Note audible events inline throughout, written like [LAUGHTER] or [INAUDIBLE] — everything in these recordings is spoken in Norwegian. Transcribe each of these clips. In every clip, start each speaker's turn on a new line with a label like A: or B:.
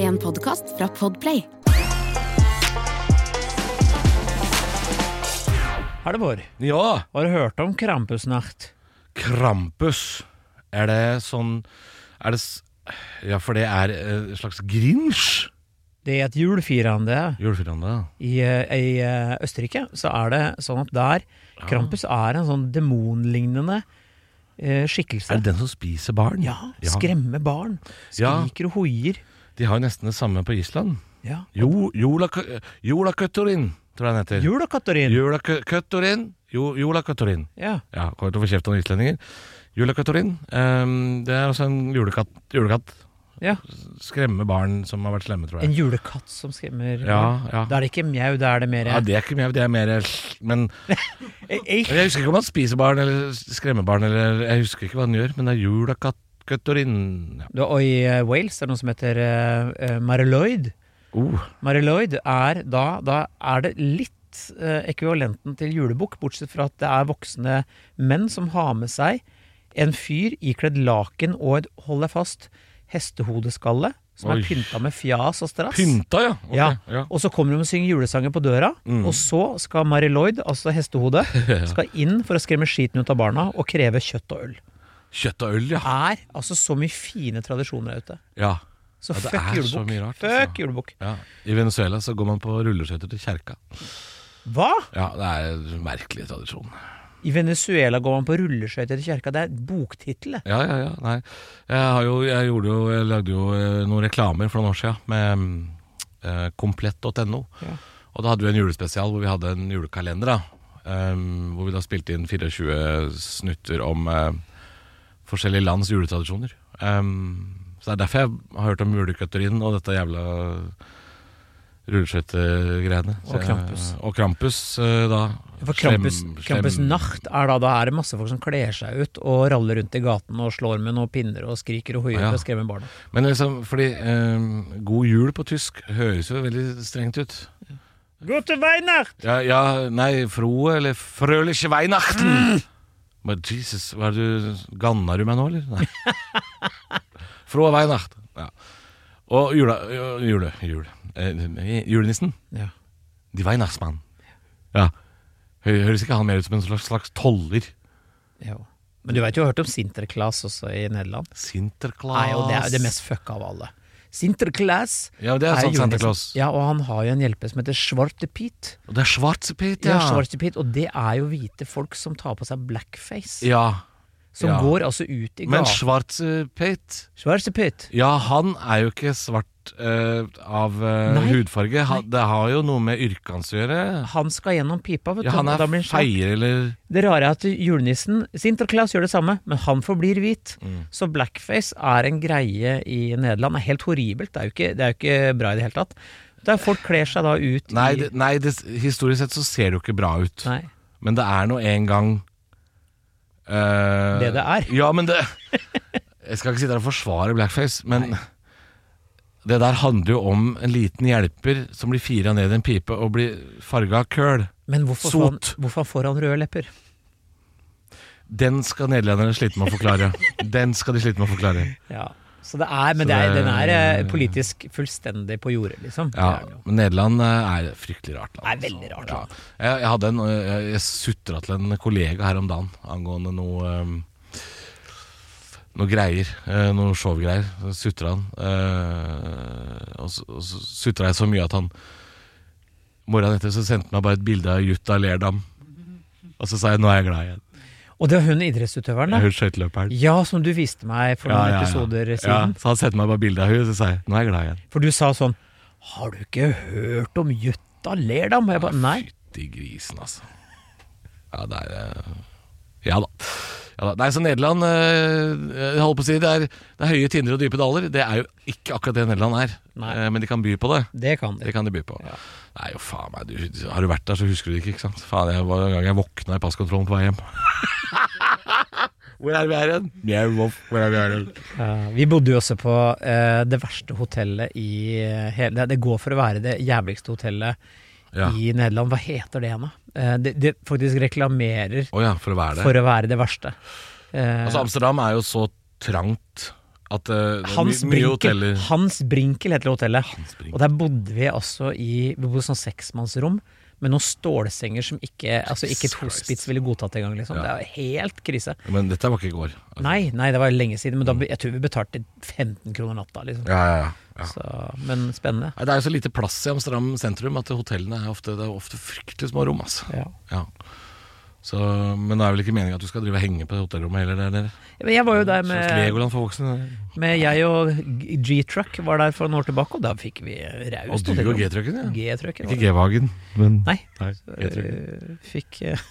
A: en podkast fra Podplay.
B: Halvor,
C: Ja,
B: har du hørt om Krampusnacht?
C: Krampus. Er det sånn Er det s- Ja, for det er eh, en slags grinsj?
B: Det er et julefirende
C: Julefirande.
B: i, eh, i eh, Østerrike. Så er det sånn at der
C: Ah.
B: Krampus er en sånn demonlignende eh,
C: Er
B: skikkelse.
C: det den som spiser barn?
B: Ja, skremme barn.
C: Ja.
B: Skriker og hoier.
C: De har jo nesten det samme på Island.
B: Ja.
C: Jo, jola, Jolaköttorin, tror jeg den heter.
B: Jul da, Katarin.
C: Jolaköttorin. Jo, jolaköttorin.
B: Ja.
C: Ja, kommer til å få kjeft av noen islendinger. Jolaköttorin. ehm, det er altså en julekatt, julekatt.
B: ja.
C: Skremme barn som har vært slemme, tror
B: En
C: jeg.
B: julekatt som skremmer barn.
C: Ja, ja.
B: Da er det ikke mjau, da er det mer
C: Ja, det er ikke mye, det er mer Men
B: Eh, eh,
C: Jeg husker ikke om han spiser barn eller skremmer barn. Eller, jeg husker ikke hva han gjør, men det er julaköttorin. Ja.
B: Da- Og i eh, Wales er det noe som heter uh, Mariloid.
C: Oh,
B: Mariloid er da, da er det litt eh, ekvivalenten til julebukk, bortsett fra at det er voksne menn som har med seg en fyr ikledd laken og et, hold deg fast, hestehodeskalle, som
C: Oi.
B: er pynta med fjas og strass.
C: pynta, ja. Ok,
B: Ja.
C: ja. Mm.
B: Og så kommer de og synger julesanger på døra, og så skal Mariloid, altså
C: [LAUGHS]
B: hestehodet, skal inn for å skremme skiten ut av barna og kreve kjøtt og øl.
C: Kjøtt og øl, ja.
B: Det er altså så mye fine tradisjoner der ute.
C: ja.
B: Så
C: Ja, det
B: fuck
C: er så
B: julebukk.
C: mye rart, altså.
B: Fuck julebukk.
C: Ja. I Venezuela så går man på rulleskøyter til kjerka.
B: Hva?
C: Ja, det er en merkelig tradisjon.
B: I Venezuela går man på rulleskøyter til kjerka. Det er boktittel. det.
C: Ja, ja, ja. Nei. Jeg, har jo, jeg, gjorde jo, jeg lagde jo eh, noen reklamer for noen år siden med mm, eh, komplett.no.
B: Ja.
C: Og da hadde vi en julespesial hvor vi hadde en julekalender. da em, Hvor vi da spilte inn 24 snutter om eh, forskjellige lands juletradisjoner. Em, så det er derfor jeg har hørt om julekaterinen og dette jævla rulleskøytegreiene. Så
B: Og
C: jeg-
B: Krampus.
C: Og Krampus, eh, da.
B: For Krampus,
C: Slem- slem-
B: Krampus nacht er da, da er det masse folk som kler seg ut og raller rundt i gaten og slår med noen pinner og skriker og hoier
C: Ja.
B: for å skremme barna.
C: Men liksom, fordi eh, god jul på tysk høres jo veldig strengt ut.
B: Gute Weihnacht!
C: Ja, ja nei, froe eller frøliche
B: Mm.
C: Weihnachten. Men Jesus, hva er det du Ganna du meg nå, eller? Nei. [LAUGHS] Frohe Weihnacht. Ja. Og jula, jule, jule, eh, julenissen.
B: Ja.
C: De Weihnachtsmann. Ja. Hø- Høres ikke han mer ut som en slags, slags toller?
B: Jo. Men du veit jo, jeg har hørt om Sinterklaas også i Nederland.
C: Sinterklaas.
B: Nei, og det er jo det mest fucka av alle. Sinterklaas
C: Ja, det er
B: jo
C: sant,
B: julenissen.
C: Santa Claus.
B: Ja, og han har jo en hjelper som heter Svarte Pete.
C: Og det er Schwarzepit,
B: Ja.
C: ja.
B: Svarte Pete, og det er jo hvite folk som tar på seg blackface.
C: ja.
B: Som
C: ja.
B: går altså ut i
C: Men
B: gata.
C: Schwarzepit
B: Svarte Pete.
C: Ja, han er jo ikke svart eh, av eh,
B: Nei.
C: hudfarge. Han, det har jo noe med yrket hans å gjøre.
B: Han skal gjennom pipa, vet du.
C: Ja, han
B: og
C: er
B: da blir han svart.
C: feier, eller
B: Det rare er at julenissen Sinterklaas gjør det samme, men han forblir hvit.
C: Mm.
B: Så blackface er en greie i Nederland. Det er helt horribelt. Det er jo ikke, det er jo ikke bra i det hele tatt. Der folk kler seg da ut
C: Nei,
B: i
C: det, nei det, historisk sett så ser det jo ikke bra ut.
B: Nei.
C: Men det er nå en gang eh,
B: Det det er.
C: Ja, men
B: [LAUGHS]
C: det Jeg skal ikke sitte her og forsvare blackface, men det der handler jo om en liten hjelper som blir fira ned i en pipe og blir farga av køl.
B: Men hvorfor, får han,
C: Sot.
B: hvorfor får han røde lepper?
C: Den skal nederlenderne slite med å forklare.
B: [LAUGHS]
C: Den skal de slite med å forklare.
B: Ja. Så det er, men
C: Så
B: det er,
C: det-
B: den er eh, politisk fullstendig på jordet, liksom.
C: Ja,
B: Det er den jo.
C: men Nederland eh, er fryktelig rart land. altså.
B: Det er veldig rart land.
C: Ja. Jeg, jeg, hadde en, eh, jeg, jeg sutra til en kollega her om dagen angående noe eh, Noe greier. eh, Noe showgreier. Så Sutra han. eh, Og så, og så sutra jeg så mye at han Morgenen etter så sendte han meg bare et bilde av Jutta Lerdam. Og så sa jeg 'nå er jeg glad igjen'.
B: Og det er hun idrettsutøveren,
C: Jeg
B: da.
C: hørte skøyteløperen.
B: Ja, som du viste meg for noen episoder siden.
C: så han sendte meg bare bilde av henne, og så sa jeg 'nå er jeg glad igjen'.
B: For du sa sånn Har du ikke hørt om Jøtta Lerdam? Og jeg bare Nei.
C: Fytti grisen, altså. Ja, det er eh, Ja da. Ja, da. Nei, så Nederland eh, Jeg holdt på å si det er, det er høye tinder og dype daler. Det er jo ikke akkurat det Nederland er,
B: Nei.
C: Eh, men de kan by på det.
B: Det kan
C: Det
B: de.
C: kan de by på. Nei, jo faen meg, du, har du vært der, så husker du det ikke, ikke sant? Faen, jeg var en gang jeg våkna i passkontrollen på vei hjem. [LAUGHS] Hvor er vi her igjen? Mjau, hvor er vi her igjen?
B: Ja, vi bodde jo også på eh, det verste hotellet i eh, hele det- Det går for å være det jævligste hotellet
C: Ja.
B: i Nederland. Hva heter det igjen, da? Eh, det, det faktisk reklamerer
C: Å ja, for å være der.
B: for å være det verste. Eh,
C: Altså, Amsterdam er jo så trangt At eh, det er
B: Hans
C: my- mye
B: Brinkel,
C: hoteller
B: Hans Brinkel heter hotellet.
C: Hans
B: Og der bodde vi altså i Vi bodde i sånn seksmannsrom med noen stålsenger som ikke Altså ikke et
C: Jesus Christ.
B: hospits ville godtatt engang, liksom.
C: Ja.
B: Det er jo helt krise.
C: Men dette var ikke i går. Altså.
B: Nei, nei, det var lenge siden, men da, jeg tror vi betalte 15 kroner natta, liksom.
C: Ja, ja, ja, ja.
B: Så, men spennende.
C: Nei, Det er jo så lite plass i Amsterdam sentrum at hotellene er ofte, det er ofte fryktelig små rom. Altså.
B: Ja.
C: Ja. Så, men det er vel ikke meningen at du skal drive og henge på hotellrommet heller? Der, nede?
B: Men jeg var jo der
C: Slags
B: med,
C: Legoland for voksne. det.
B: med jeg og G- G-Truck var der for noen år tilbake, og da fikk vi raust
C: Og du og G-trucken, ja.
B: G-Trucken.
C: Ikke G-vagen, men
B: Nei,
C: G-trucken.
B: øh, fikk, [LAUGHS] øh,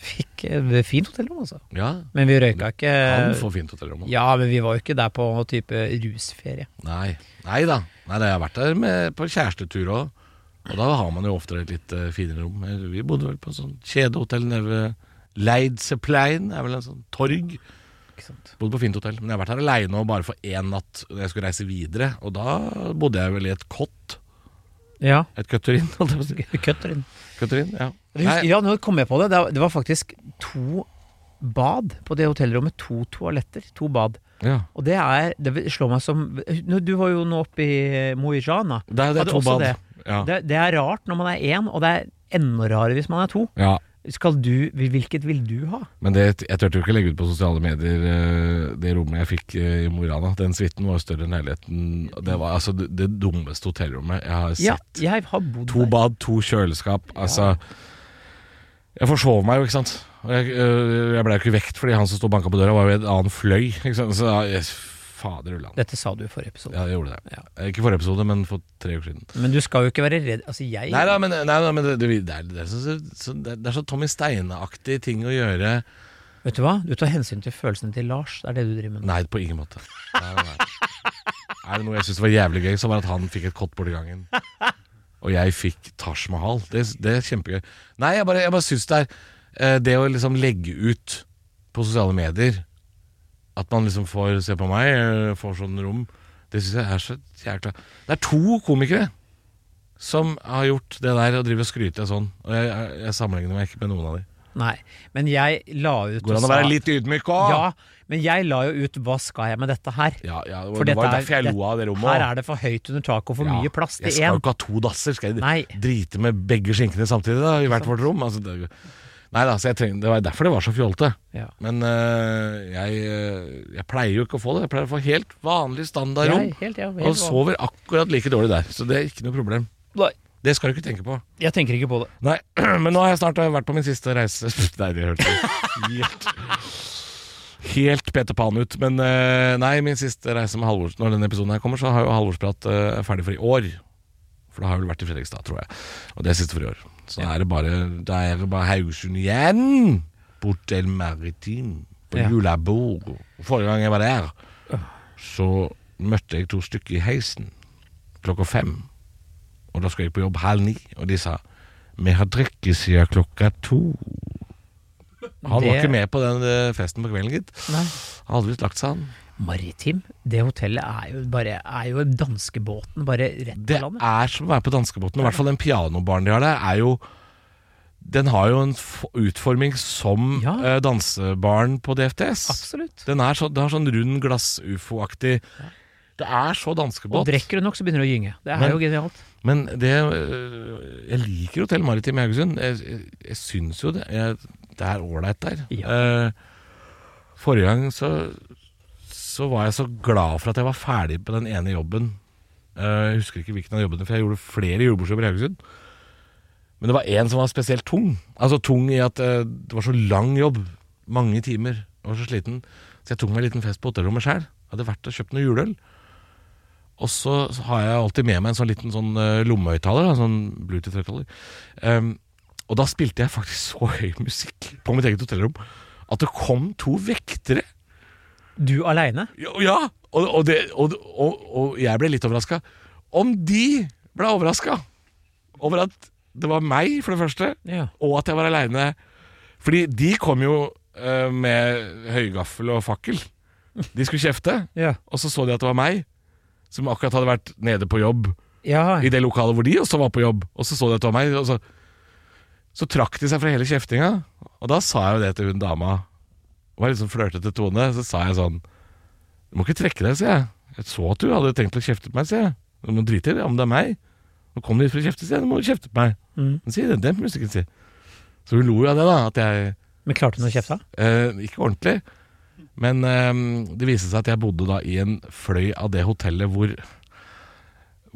B: fikk øh, fint hotellrom, altså.
C: Ja,
B: Men vi røyka ikke
C: han får fint hotellrom.
B: Ja, men vi var jo ikke der på type rusferie.
C: Nei. Nei da. Nei, da, jeg har vært der med, på kjærestetur òg. Og da har man jo ofte et litt eh, finere rom. Eh, Vi bodde vel på et sånt kjedehotell nede ved Leidseplein, er vel en sånn torg.
B: Ikke sant?
C: Bodde på fint hotell. Men jeg har vært her aleine og bare for én natt da jeg skulle reise videre. Og da bodde jeg vel i et kott.
B: Ja.
C: Et køtterin, [LAUGHS] holdt jeg på å si.
B: Køtterin.
C: Køtterin, ja. Nei,
B: Ja, nå kom jeg på det. Det var- Det var faktisk to bad på det hotellrommet. To toaletter. To bad.
C: ja.
B: Og det er Det slår meg som Du var jo nå oppe i Mo i Rana.
C: Det er, det
B: Hadde
C: er to
B: også
C: bad.
B: det.
C: Ja.
B: Det, det er rart når man er én, og det er enda rarere hvis man er to.
C: ja.
B: Skal du, hvilket vil du ha?
C: Men det, jeg turte jo ikke legge ut på sosiale medier eh, det rommet jeg fikk eh, i Mo i Rana. Den suiten var jo større enn leiligheten. Det var altså det, det dummeste hotellrommet jeg har
B: Ja,
C: sett.
B: jeg har bodd
C: To
B: der.
C: bad, to kjøleskap. Altså Jeg forsov meg jo, ikke sant. Og jeg, øh, jeg ble jo ikke vekt fordi han som sto og banka på døra, var jo i en annen fløy. Ikke sant? Så jeg, fader ulland.
B: Dette sa du i forrige episode.
C: Ja, jeg gjorde det.
B: Ja.
C: Ikke forrige episode, men for tre uker siden.
B: Men du skal jo ikke være redd. Altså, jeg
C: Nei da, men, nei, da, men det, det, det, er, det, er så, så, det er så Tommy Steine-aktig ting å gjøre.
B: Vet du hva? Du tar hensyn til følelsene til Lars. Det er det du driver med nå.
C: Nei, på ingen måte. Nei, nei, nei. Er det noe jeg syns var jævlig gøy, så var det at han fikk et kott borti gangen. Og jeg fikk Taj Mahal. Det, det er kjempegøy. Nei, jeg bare, jeg bare syns det er eh, Det å liksom legge ut på sosiale medier At man liksom får se på meg, eh, får sånn rom Det syns jeg er så jækla Det er to komikere som har gjort det der og driver og skryter av sånn. Og jeg, jeg, jeg sammenligner meg ikke med noen av dem.
B: Nei. Men jeg la ut
C: Går
B: og
C: det an å
B: sa-
C: være litt ydmyk òg?
B: Ja, men jeg la jo ut 'hva skal jeg med dette her'?
C: Ja, ja,
B: For
C: det
B: dette
C: var jo
B: er-
C: derfor jeg
B: det-
C: lo av det rommet.
B: Her
C: også.
B: er det for høyt under taket og for
C: Ja,
B: mye plass til
C: Jeg skal
B: én.
C: jo ikke ha to dasser. Skal jeg
B: Nei.
C: drite med begge skinkene samtidig da, i hvert vårt rom? Altså, det, nei da, så jeg trenger, det var derfor det var så fjolte.
B: Ja.
C: Men øh, jeg, øh, jeg pleier jo ikke å få det. Jeg pleier å få helt vanlig standardrom.
B: Jeg, helt, ja,
C: Og
B: helt vanlig.
C: sover akkurat like dårlig der. Så det er ikke noe problem.
B: Nei,
C: Det skal du ikke tenke på.
B: Jeg tenker ikke på det.
C: Nei, [CLEARS THROAT] men nå har jeg snart eh, vært på min siste reise [LAUGHS] Nei, det hørtes helt Helt Peter Pan ut Men eh, nei, min siste reise med Halvors Når denne episoden her kommer så har jo Halvorsprat eh, ferdig for i år For det har vel vært i Fredrikstad, tror jeg Og det er siste for i år Så da er det bare, da er det bare Haugesund igjen Bortel Maritim På
B: Ja.
C: julebord Og Forrige gang jeg var der Så møtte jeg to stykker i heisen Klokka fem og da skulle jeg på jobb halv ni, og de sa Vi har drukket siden klokka to. Han var
B: Det-
C: ikke med på den eh, festen på kvelden, gitt.
B: Nei.
C: Han hadde visst lagt seg, han.
B: Maritim, det hotellet er jo bare Er jo danskebåten bare rett
C: Det
B: på landet.
C: er som å være på danskebåten. I hvert fall den pianobaren de har der, er jo Den har jo en f- utforming som
B: Ja.
C: eh, dansebaren på DFTS.
B: Absolutt.
C: Den er så, det har sånn rund glass-ufo-aktig Det er så
B: Og
C: danskebåt.
B: drikker du nok, så begynner du å gynge. Det er
C: Men-
B: jo genialt.
C: Men det øh, Jeg liker Hotell Maritim i Haugesund. Jeg, jeg, jeg syns jo det. Jeg, det er ålreit der. Eh, forrige gang så, så var jeg så glad for at jeg var ferdig på den ene jobben. Eh, jeg husker ikke hvilken av jobbene, for jeg gjorde flere julebordsjobber i Haugesund. Men det var én som var spesielt tung. Altså tung i at eh, det var så lang jobb. Mange timer. Jeg var så sliten. Så jeg tok meg en liten fest på hotellrommet sjøl. Hadde vært og kjøpt noe juleøl. Og så har jeg alltid med meg en sånn liten sånn eh, lommehøyttaler. da, Sånn Bluetooth-høyttaler. Ehm, og da spilte jeg faktisk [LAUGHS] så høy musikk på mitt eget hotellrom at det kom to vektere.
B: Du aleine?
C: Ja, ja og, og, det, og, og, og jeg ble litt overraska. Om de ble overraska over at det var meg, for det første,
B: Ja.
C: og at jeg var aleine. Fordi de kom jo eh, med høygaffel og fakkel. De skulle kjefte,
B: Ja.
C: og så så de at det var meg, som akkurat hadde vært nede på jobb
B: ja.
C: i det lokalet hvor de også var på jobb, og så så de at det var meg. Og så, så trakk de seg fra hele kjeftinga, og da sa jeg jo det til hun dama. Det var litt sånn flørtete tone, så sa jeg sånn Du må ikke trekke deg, sier jeg. Jeg så at du hadde tenkt å kjefte på meg, sier jeg. Du må drite i det, om det er meg. Nå kom du hit for å kjefte, sier jeg. Du må jo kjefte på meg.
B: Mm.
C: Men sier det, demp musikken, sier jeg. Så hun lo jo av det, da. At jeg
B: Men klarte hun å kjefte?
C: eh, Ikke ordentlig. Men eh, det viste seg at jeg bodde da i en fløy av det hotellet hvor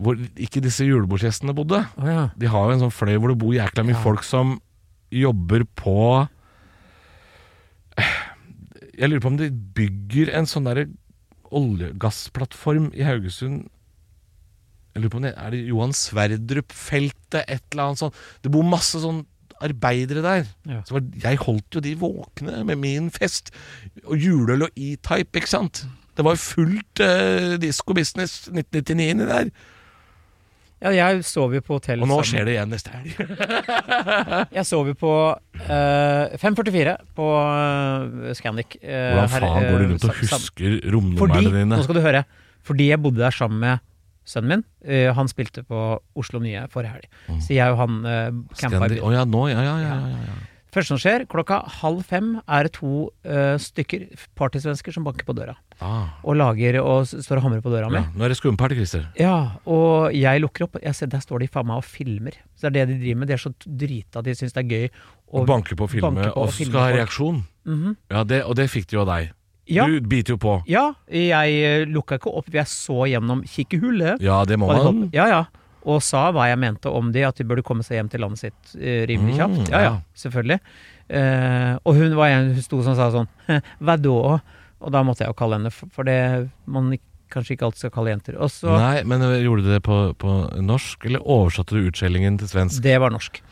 C: Hvor ikke disse julebordsgjestene bodde.
B: Å ja.
C: De har jo en sånn fløy hvor det bor jækla mye
B: Ja.
C: folk som jobber på Jeg lurer på om de bygger en sånn derre oljegassplattform i Haugesund. Jeg lurer på om det er det Johan Sverdrup-feltet, et eller annet sånt. Det bor masse sånn arbeidere der.
B: Ja.
C: Så var, jeg holdt jo de våkne med min fest. Og juleøl og E-type, ikke sant? Det var jo fullt uh, disko-business 1999 inni der.
B: ja, jeg sov jo på hotell
C: Og nå
B: sammen-
C: skjer det igjen neste helg.
B: Jeg sov jo på eh, 5.44 på eh, Scandic. eh,
C: Hvordan
B: her,
C: faen
B: eh,
C: går du rundt og
B: sam- sam-
C: husker
B: Fordi,
C: romnumrene dine?
B: nå skal du høre, fordi jeg bodde der sammen med sønnen min. Eh, han spilte på Oslo Nye forrige helg.
C: Mm.
B: Så jeg og han uh, campa i
C: Scandi-
B: byen.
C: Å ja, nå, ja, ja, ja, ja, ja.
B: Første som skjer, klokka halv fem er det to eh, stykker partysvensker som banker på døra.
C: Ah,
B: Og lager og s- står og hamrer på døra mi.
C: ja. Nå er det skumparty, Christer.
B: Ja, og jeg lukker opp. Jeg ser, der står de faen meg og filmer. Så det er det de driver med. De er så drita, de syns det er gøy.
C: Og
B: å-
C: banke på og filme,
B: banke på
C: og
B: og filme
C: skal ha
B: folk.
C: reaksjon.
B: Mhm.
C: Ja, det, Og det fikk de jo av deg.
B: Ja.
C: Du biter jo på.
B: Ja, jeg eh, lukka ikke opp. Jeg så gjennom kikkehullet.
C: Ja, det må
B: hva de holdt
C: man.
B: på- Ja, ja. Og sa hva jeg mente om de, at de burde komme seg hjem til landet sitt eh, rimelig
C: Mm,
B: kjapt. Ja, ja,
C: ja.
B: selvfølgelig. Eh, og hun var en hun sto som sa sånn [LAUGHS] «Hæ, Hva da? Og da måtte jeg jo kalle henne, for for det man ik- kanskje ikke alltid skal kalle jenter. Og så
C: Nei, men øh, gjorde du det på, på norsk, eller oversatte du utskjellingen til svensk?
B: Det var norsk.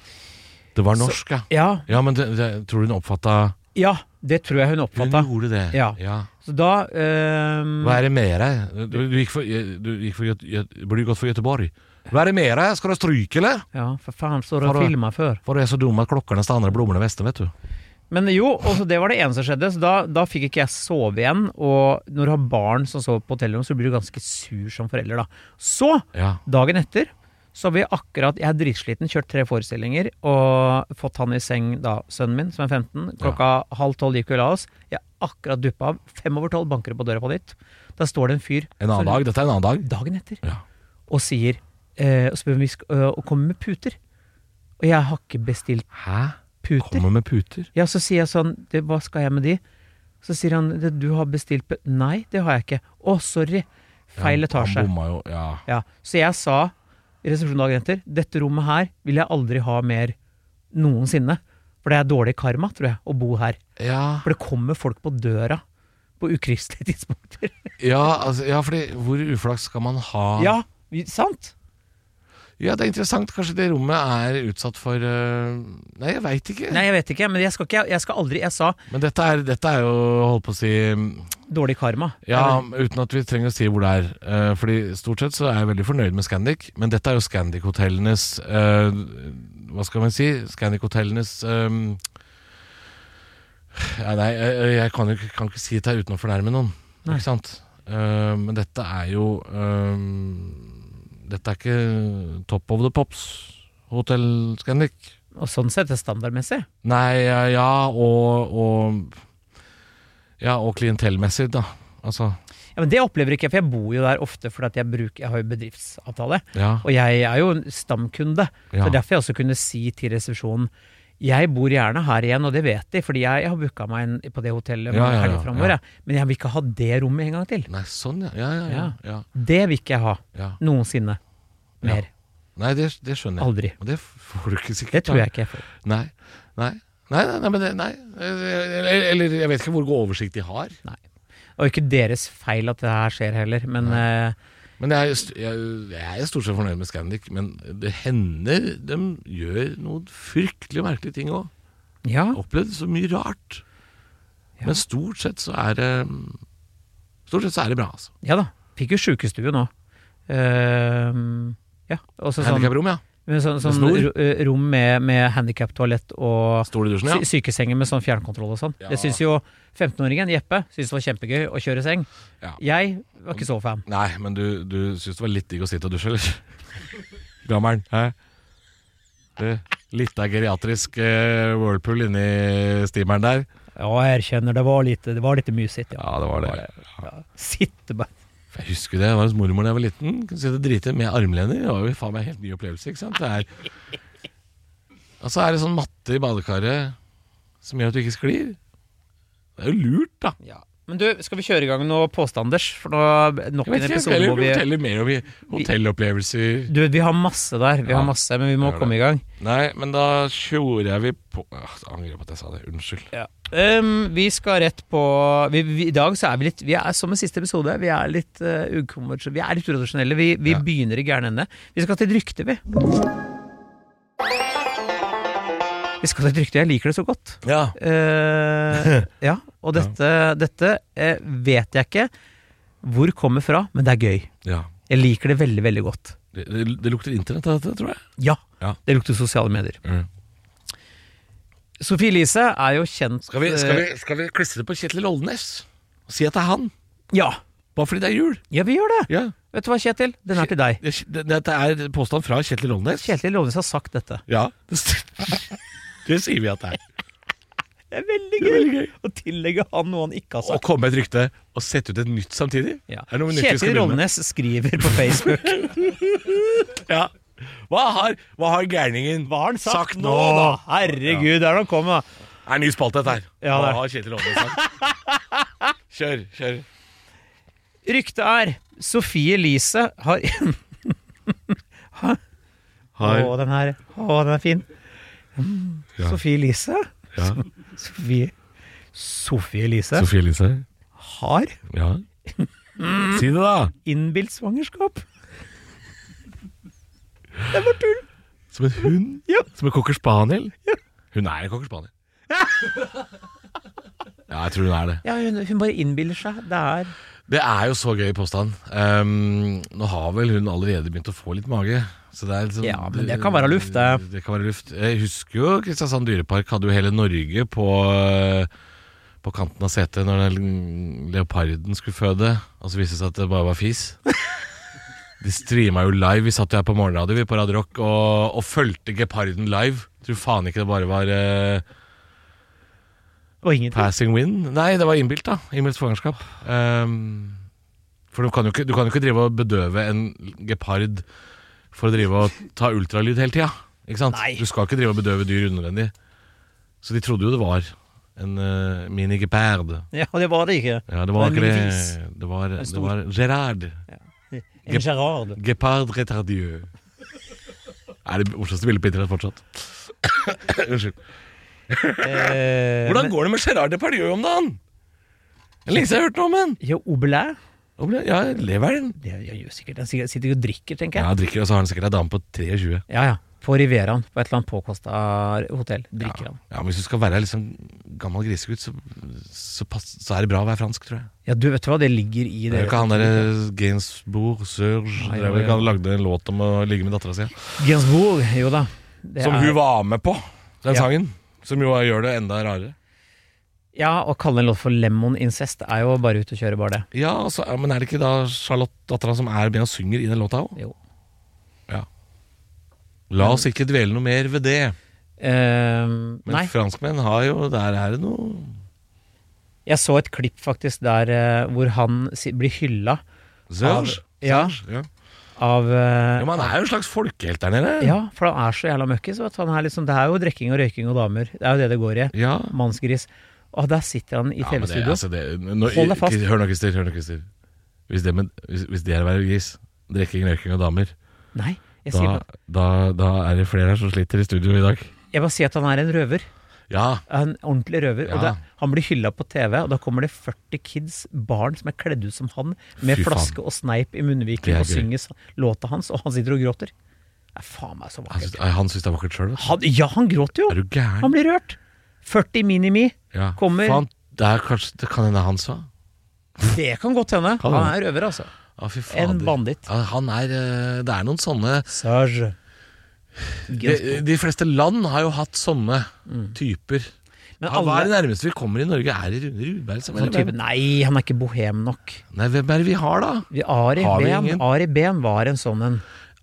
C: Det var
B: Så-
C: norsk, ja.
B: Ja,
C: Ja, men det, det, tror du hun oppfatta
B: ja det tror jeg hun
C: Hun
B: oppfatta.
C: gjorde det.
B: Ja. Så da eh,
C: Hva er det med deg? Du, du gikk for, eh, du gikk for Göte, Göte, burde gått for Göteborg. Hva er det med deg? Skal du stryke, eller?
B: Ja, for faen, står det og
C: Har du-
B: filmer før.
C: For du er så dum at klokkerne stanner i blommene i vesten, vet du.
B: Men jo, også det var det eneste som skjedde, så da, da fikk ikke jeg sove igjen. Og når du har barn som sover på hotellrom, så blir du ganske sur som forelder, da. Så,
C: Ja.
B: dagen etter, så har vi akkurat Jeg er dritsliten, kjørt tre forestillinger og fått han i seng, da, sønnen min, som er 15. Klokka halv tolv gikk vi og la oss. Jeg har akkurat duppa av. Fem over tolv banker det på døra på ditt. Da står det en fyr
C: En annen
B: Så-
C: dag. Dette er en annen dag.
B: dagen etter
C: Ja.
B: og sier eh, Og spør om vi skal øh, Og kommer med puter. Og jeg har ikke bestilt
C: Hæ?
B: puter.
C: Kommer med puter?
B: Ja, så sier jeg sånn, det, hva skal jeg med de? Så sier han, det, du har bestilt pe- Nei, det har jeg ikke. Å, sorry. Feil
C: Ja,
B: etasje.
C: Han bomma jo, ja.
B: Ja, så jeg sa i resepsjonen dagen etter, dette rommet her vil jeg aldri ha mer noensinne. For det er dårlig karma, tror jeg, å bo her.
C: Ja,
B: For det kommer folk på døra på ukristelige [LAUGHS] tidspunkter.
C: ja, altså, ja fordi hvor uflaks skal man ha?
B: Ja, vi- sant?
C: Ja, det er interessant. Kanskje det rommet er utsatt for øh, Nei, jeg veit ikke.
B: Nei, jeg vet ikke, men jeg skal, ikke, jeg skal aldri Jeg sa
C: Men dette er, dette er jo, holdt på å si
B: dårlig karma.
C: Ja, uten at vi trenger å si hvor det er. Eh, fordi stort sett så er jeg veldig fornøyd med Scandic, men dette er jo Scandic-hotellenes eh, Hva skal man si? Scandic-hotellenes eh, ja, Nei, jeg, jeg kan jo ikke, kan ikke si dette uten å fornærme noen.
B: Nei.
C: Ikke sant? Eh, men dette er jo eh, Dette er ikke top of the pops, hotell Scandic.
B: Og sånn sett, det er standardmessig.
C: Nei, ja, ja og, og Ja, og klientellmessig, da. Altså,
B: Ja, men det opplever ikke jeg, for jeg bor jo der ofte fordi at jeg, bruker, jeg har jo bedriftsavtale.
C: ja.
B: Og jeg er jo en stamkunde.
C: ja.
B: Så derfor jeg også kunne si til resepsjonen jeg bor gjerne her igjen, og det vet de, fordi jeg, jeg har booka meg en på det hotellet
C: Ja,
B: mange
C: ja, ja,
B: helger framover.
C: ja.
B: jeg. Men jeg vil ikke ha det rommet en gang til.
C: Nei, sånn ja. Ja, ja, ja. ja.
B: Det vil ikke jeg ha.
C: ja,
B: Noensinne. Mer.
C: Nei, det, det skjønner jeg.
B: Aldri.
C: Og det får du ikke sikkert.
B: Det tror
C: da.
B: jeg ikke jeg får.
C: Nei. Nei. Nei, nei, nei, men det, nei. Eller, eller jeg vet ikke hvor god oversikt de har.
B: Og ikke deres feil at det her skjer heller, men eh,
C: Men jeg, er st- jeg, jeg er stort sett fornøyd med Scandic, men det hender de gjør noen fryktelig merkelige ting òg.
B: ja.
C: Opplevd så mye rart.
B: Ja.
C: Men stort sett så er det Stort sett så er det bra, altså.
B: ja da. Fikk jo sjukestue nå. Ehm, ja. Og så sånn,
C: Handikaprom, ja.
B: med sånn, sånn
C: snor?
B: ro- eh, rom med, med handikaptoalett og
C: Stol i dusjen, ja.
B: Sy- Sykesenger med sånn fjernkontroll og sånn.
C: Ja.
B: Det syns jo 15-åringen Jeppe syntes det var kjempegøy å kjøre seng.
C: Ja.
B: Jeg var ikke så fan.
C: Nei, men du, du syns det var litt digg å sitte og dusje, eller? [LAUGHS] Gammelen, hæ? Du, litt av geriatrisk eh, whirlpool inni steameren der.
B: Ja, jeg erkjenner, det var litt, det var litt mye sitt, ja.
C: Ja, det var det.
B: ja. Sitte bare
C: Jeg husker det, jeg var hos mormor da jeg var liten. Kunne sitte og drite med armlener. Det var jo faen meg helt ny opplevelse. ikke sant? Det er... Og så er det sånn matte i badekaret som gjør at du ikke sklir. Det er jo lurt, da.
B: Men du, skal vi kjøre i gang noe påstanders? For nå nok
C: Jeg vet
B: en
C: ikke,
B: episode
C: eller
B: hvor vi
C: forteller mer om i- hotellopplevelser.
B: Du, vi har masse der. Vi
C: Ja.
B: har masse, men vi må
C: Gjør det.
B: komme i gang.
C: Nei, men da tjorer jeg vi på Åh, Jeg angrer på at jeg sa det. Unnskyld.
B: Ehm, vi skal rett på vi, vi, I dag så er vi litt Vi er som i siste episode. Vi er litt uh, Vi er litt utradisjonelle. Vi, vi
C: Ja.
B: begynner i gæren ende. Vi skal til et rykte, vi. Vi skal til et rykte. Jeg liker det så godt.
C: Ja. [LAUGHS]
B: Eh, ja, og dette, dette eh, vet jeg ikke hvor kommer fra, men det er gøy.
C: ja.
B: Jeg liker det veldig, veldig godt.
C: Det, det, det lukter internett av dette, tror jeg.
B: Ja,
C: Ja.
B: det lukter sosiale medier. Sofie Elise er jo kjent
C: Skal, vi, skal,
B: eh,
C: vi, skal vi klistre på Kjetil Oldenes? Og si at det er han?
B: Ja,
C: Bare fordi det er jul?
B: ja, vi gjør det!
C: Ja.
B: Vet du hva, Kjetil? Den er til deg.
C: Det, det, dette er påstand fra Kjetil Oldenes?
B: Kjetil Lovnes har sagt dette.
C: Ja. [LAUGHS] Det, s- det sier vi at det er.
B: Det er veldig
C: Det er veldig gøy.
B: å tillegge han noe han ikke har
C: Å komme med et rykte og sette ut et nytt samtidig?
B: Ja.
C: Er det noe nytt vi skal
B: Kjetil
C: begynne med?
B: Rollenes skriver på
C: [LAUGHS]
B: Facebook.
C: Ja. Hva har, hva har gærningen
B: Hva har han sagt,
C: sagt
B: nå, da? Herregud, der han kom, da.
C: Det er en ny spalte, dette her.
B: Ja, det er.
C: Hva har Kjetil Oldenes sagt?
B: [LAUGHS]
C: Kjør, kjør.
B: Ryktet er Sofie Elise har [LAUGHS] Å, den her Å, den er fin. Mm,
C: Ja.
B: Sofie Elise?
C: Ja.
B: Sofie Sofie Elise
C: Sofie Elise?
B: har
C: [LAUGHS] Ja. Si det, da.
B: innbilt svangerskap. Det var tull!
C: Som en hund?
B: Ja.
C: Som en cocker spaniel?
B: Ja.
C: Hun er en cocker spaniel. [LAUGHS] Ja, jeg tror hun er det.
B: Ja, hun, hun bare innbiller seg. Det er
C: Det er jo så gøy påstand. Ehm, nå har vel hun allerede begynt å få litt mage. Så det er liksom,
B: Ja, men det kan være luft, det.
C: Det kan være luft. Jeg husker jo Kristiansand dyrepark hadde jo hele Norge på, eh, på kanten av setet når den leoparden skulle føde, og så viste det seg at det bare var
B: [LAUGHS]
C: fis. De streama jo live. Vi satt jo her på morgenradio vi på Radio Rock og, og fulgte geparden live. Tror faen ikke det bare var eh,
B: Og ingenting.
C: Passing win? Nei, det var innbilt, da. Innbilt fangenskap. Ehm, for du kan, jo ikke, du kan jo ikke drive og bedøve en gepard for å drive og ta ultralyd hele tida. Ikke sant?
B: Nei.
C: Du skal ikke drive og bedøve dyr unødvendig. Så de trodde jo det var en uh, mini-gepard.
B: Ja, det var det ikke.
C: Ja, det
B: Det
C: var ikke
B: var en
C: det.
B: fis.
C: Det var, det
B: stor.
C: var Gerard.
B: En Gerard.
C: Gepard retardieu. Er det morsomste bildet på
B: [COUGHS]
C: internett fortsatt? Unnskyld.
B: Eh,
C: Hvordan
B: men-
C: går det med Gerard depardieu om dagen? Det er lenge siden jeg har hørt noe om han.
B: Ja, Obelin?
C: Og ble- Ja, lever den?
B: Det gjør jo sikkert. Han sikkert- sitter jo og drikker, tenker jeg.
C: Ja, drikker, og så har han sikkert ei dame på 23.
B: Ja, ja. På Riveraen, på et eller annet påkosta hotell. Drikker
C: Ja,
B: han.
C: ja men Hvis du skal være liksom gammel grisegutt, så, så, pass, så er det bra å være fransk, tror jeg.
B: Ja, du vet du hva, det ligger i
C: Det er
B: det.
C: jo ikke han derre Gainsbourg Serge
B: Nei,
C: Det er vel
B: ja,
C: ikke Han lagde en låt om å ligge med dattera si. ja.
B: Gainsbourg, jo da. Det
C: Som
B: er-
C: hun var med på, den
B: Ja.
C: sangen. Som jo gjør det enda rarere.
B: Ja, å kalle en låt for Lemon Incest er jo bare ute å kjøre, bare det.
C: Ja, altså, ja, Men er det ikke da Charlotte, dattera, som er med og synger i den låta òg?
B: Jo.
C: La oss ikke dvele noe mer ved det.
B: Ehm,
C: Men
B: nei,
C: franskmenn har jo Der er det noe
B: jeg så et klipp faktisk der eh, hvor han si, blir hylla
C: Serge?
B: ja.
C: Serge, ja.
B: av eh,
C: Jo, men han er jo en slags folkehelt der nede.
B: Ja, for han er så jævla møkkis. vet du. Han er liksom, det er jo drikking og røyking og damer. Det er jo det det går i.
C: ja.
B: Mannsgris. Og der sitter han i
C: men
B: TV-studio.
C: Det, altså det, nå,
B: Hold deg fast.
C: Chris- Hør nå, Christer. Hør nå, Christer. Hvis, det, med- hvis, hvis det er å være gris, drikking, røyking og damer,
B: Nei, jeg,
C: altså- da,
B: sier,
C: da, da er det flere her som sliter i studio i dag.
B: jeg bare sier at han er en røver.
C: Ja,
B: En ordentlig røver. Og
C: Ja.
B: det, han blir hylla på TV, og da kommer det 40 kids, barn som er kledd ut som han, med
C: Fy faen.
B: flaske og sneip i munnviken
C: Det er
B: og
C: gøy.
B: synger sa- låta hans, og han sitter og gråter. Det er faen meg så
C: han syns,
B: vakkert.
C: han syns Altså, det er vakkert sjøl.
B: Han, ja, han gråter
C: Er
B: jo!
C: du gæren?
B: Han blir rørt. 40 Minimi.
C: Ja.
B: kommer-
C: Faen, det, er kanskje, det kan hende han sa.
B: Det kan godt hende.
C: Kan
B: Han
C: hende.
B: er røver, altså.
C: Ah, fy fader.
B: En banditt.
C: Ja, han er, eh, det er noen sånne
B: Serge.
C: de, de fleste land har jo hatt sånne typer.
B: Mm. Men
C: Ja, Hva er
B: alle
C: det nærmeste vi kommer i Norge? Er det Rune Rudberg? som-
B: sånn
C: eller
B: type
C: hvem?
B: Nei, han er ikke bohem nok.
C: Nei, hvem er det vi har, da?
B: Vi, Ari,
C: Har vi
B: ben,
C: ingen?
B: Ari Ben var en sånn en.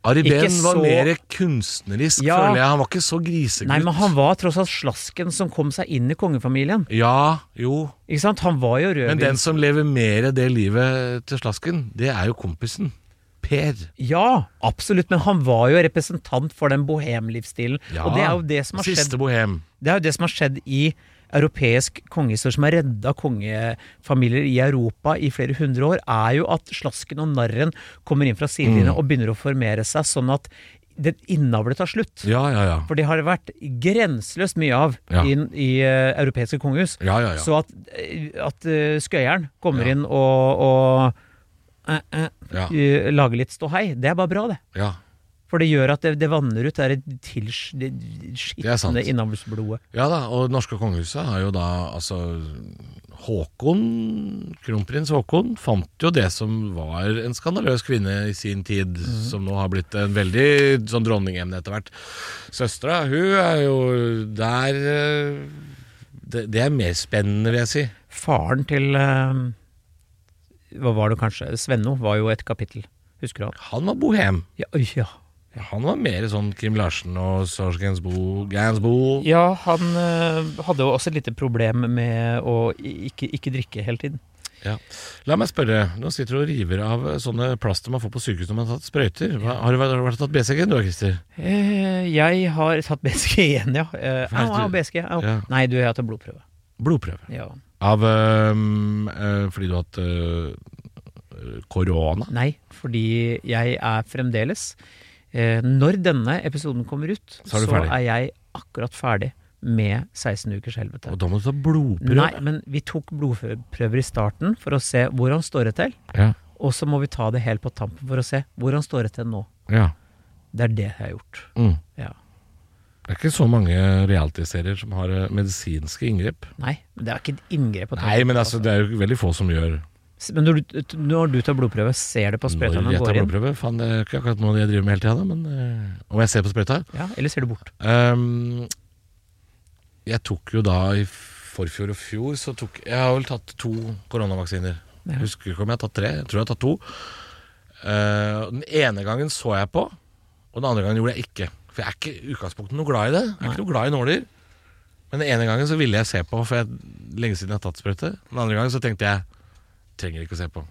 C: Ari
B: Ikke
C: Behn var
B: så-
C: mer kunstnerisk,
B: Ja.
C: føler jeg. Han var ikke så grisegutt.
B: Nei, men han var tross alt slasken som kom seg inn i kongefamilien.
C: Ja, jo.
B: Ikke sant? Han var jo
C: Men den
B: rødvin.
C: som lever mer det livet til slasken, det er jo kompisen. Per.
B: Ja, absolutt, men han var jo representant for den bohemlivsstilen.
C: Ja.
B: Og det er jo det som har skjedd
C: Siste bohem.
B: Det er jo det som har skjedd i europeisk kongehistorie, som har redda kongefamilier i Europa i flere hundre år, er jo at slasken og narren kommer inn fra sidelinja
C: Mm.
B: og begynner å formere seg, sånn at det innavlet tar slutt.
C: Ja, ja, ja.
B: For det har det vært grenseløst mye av
C: Ja.
B: i, i eh, europeiske kongehus.
C: Ja, ja, ja.
B: Så at, eh, at eh, skøyeren kommer inn og, og eh, eh,
C: Ja.
B: eh, lager litt ståhei, det er bare bra, det.
C: ja.
B: For det gjør at det, det vanner ut det er et tils- det
C: er sant.
B: skitne innavlsblodet.
C: Ja da, og det norske kongehuset har jo da altså Håkon, kronprins Håkon, fant jo det som var en skandaløs kvinne i sin tid, som nå har blitt en veldig sånn dronningemne etter hvert. Søstera, hun er jo der eh, det, det er mer spennende, vil jeg si.
B: Faren til eh, Hva var det kanskje? Svenno var jo et kapittel. Husker du han?
C: Han var bohem.
B: Ja, øy, ja.
C: Han var mer sånn Kim Larsen og Sars Gainsbourg Gainsbourg.
B: ja han eh, hadde jo også et lite problem med å i- ikke, ikke drikke hele tiden.
C: Ja. La meg spørre, nå sitter du og river av sånne plaster man får på sykehus når man har tatt sprøyter. Hva, har, du, vært- har du vært og tatt BCG du, Christer?
B: Eh, jeg har tatt BSG igjen, ja. Eh,
C: Hva er
B: Au,
C: det
B: au,
C: du-
B: BSG. Au.
C: Ja.
B: Nei, du, jeg har tatt blodprøve.
C: Blodprøve.
B: Ja.
C: Av øhm, øh, Fordi du har hatt øh, korona?
B: Nei, fordi jeg er fremdeles eh, Når denne episoden kommer ut,
C: Så er du ferdig.
B: er jeg akkurat ferdig med 16 ukers helvete.
C: Og da må du ta blodprøve?
B: Nei, men vi tok blodprøver i starten for å se hvordan står det til.
C: Ja,
B: Og så må vi ta det helt på tampen for å se hvordan står det til nå.
C: ja.
B: Det er det jeg har gjort.
C: Mm.
B: Ja.
C: Det er ikke så mange realityserier som har øh, medisinske inngrep.
B: Nei, men det er ikke et inngrep. å ta
C: Nei, men
B: blodprøve,
C: altså, det er jo veldig få som gjør
B: altså. Men når du, når du tar blodprøve, ser du på sprøyta
C: når
B: når
C: jeg
B: den
C: tar
B: går inn?
C: blodprøve. Faen, det er ikke akkurat noe jeg driver med hele tida, da, men øh, om jeg ser på sprøyta
B: Ja, eller ser du bort?
C: Ehm, Jeg tok jo da i forfjor og fjor så tok, Jeg har vel tatt to koronavaksiner.
B: Ja.
C: Husker ikke om jeg har tatt tre. Jeg tror jeg har tatt to. Eh, og den ene gangen så jeg på, og den andre gangen gjorde jeg ikke. For jeg er ikke i utgangspunktet noe glad i det. Jeg er ikke noe glad i nåler. Men den ene gangen så ville jeg se på, for jeg, lenge siden jeg har tatt sprøyte. Den andre gangen så tenkte jeg trenger ikke å se på.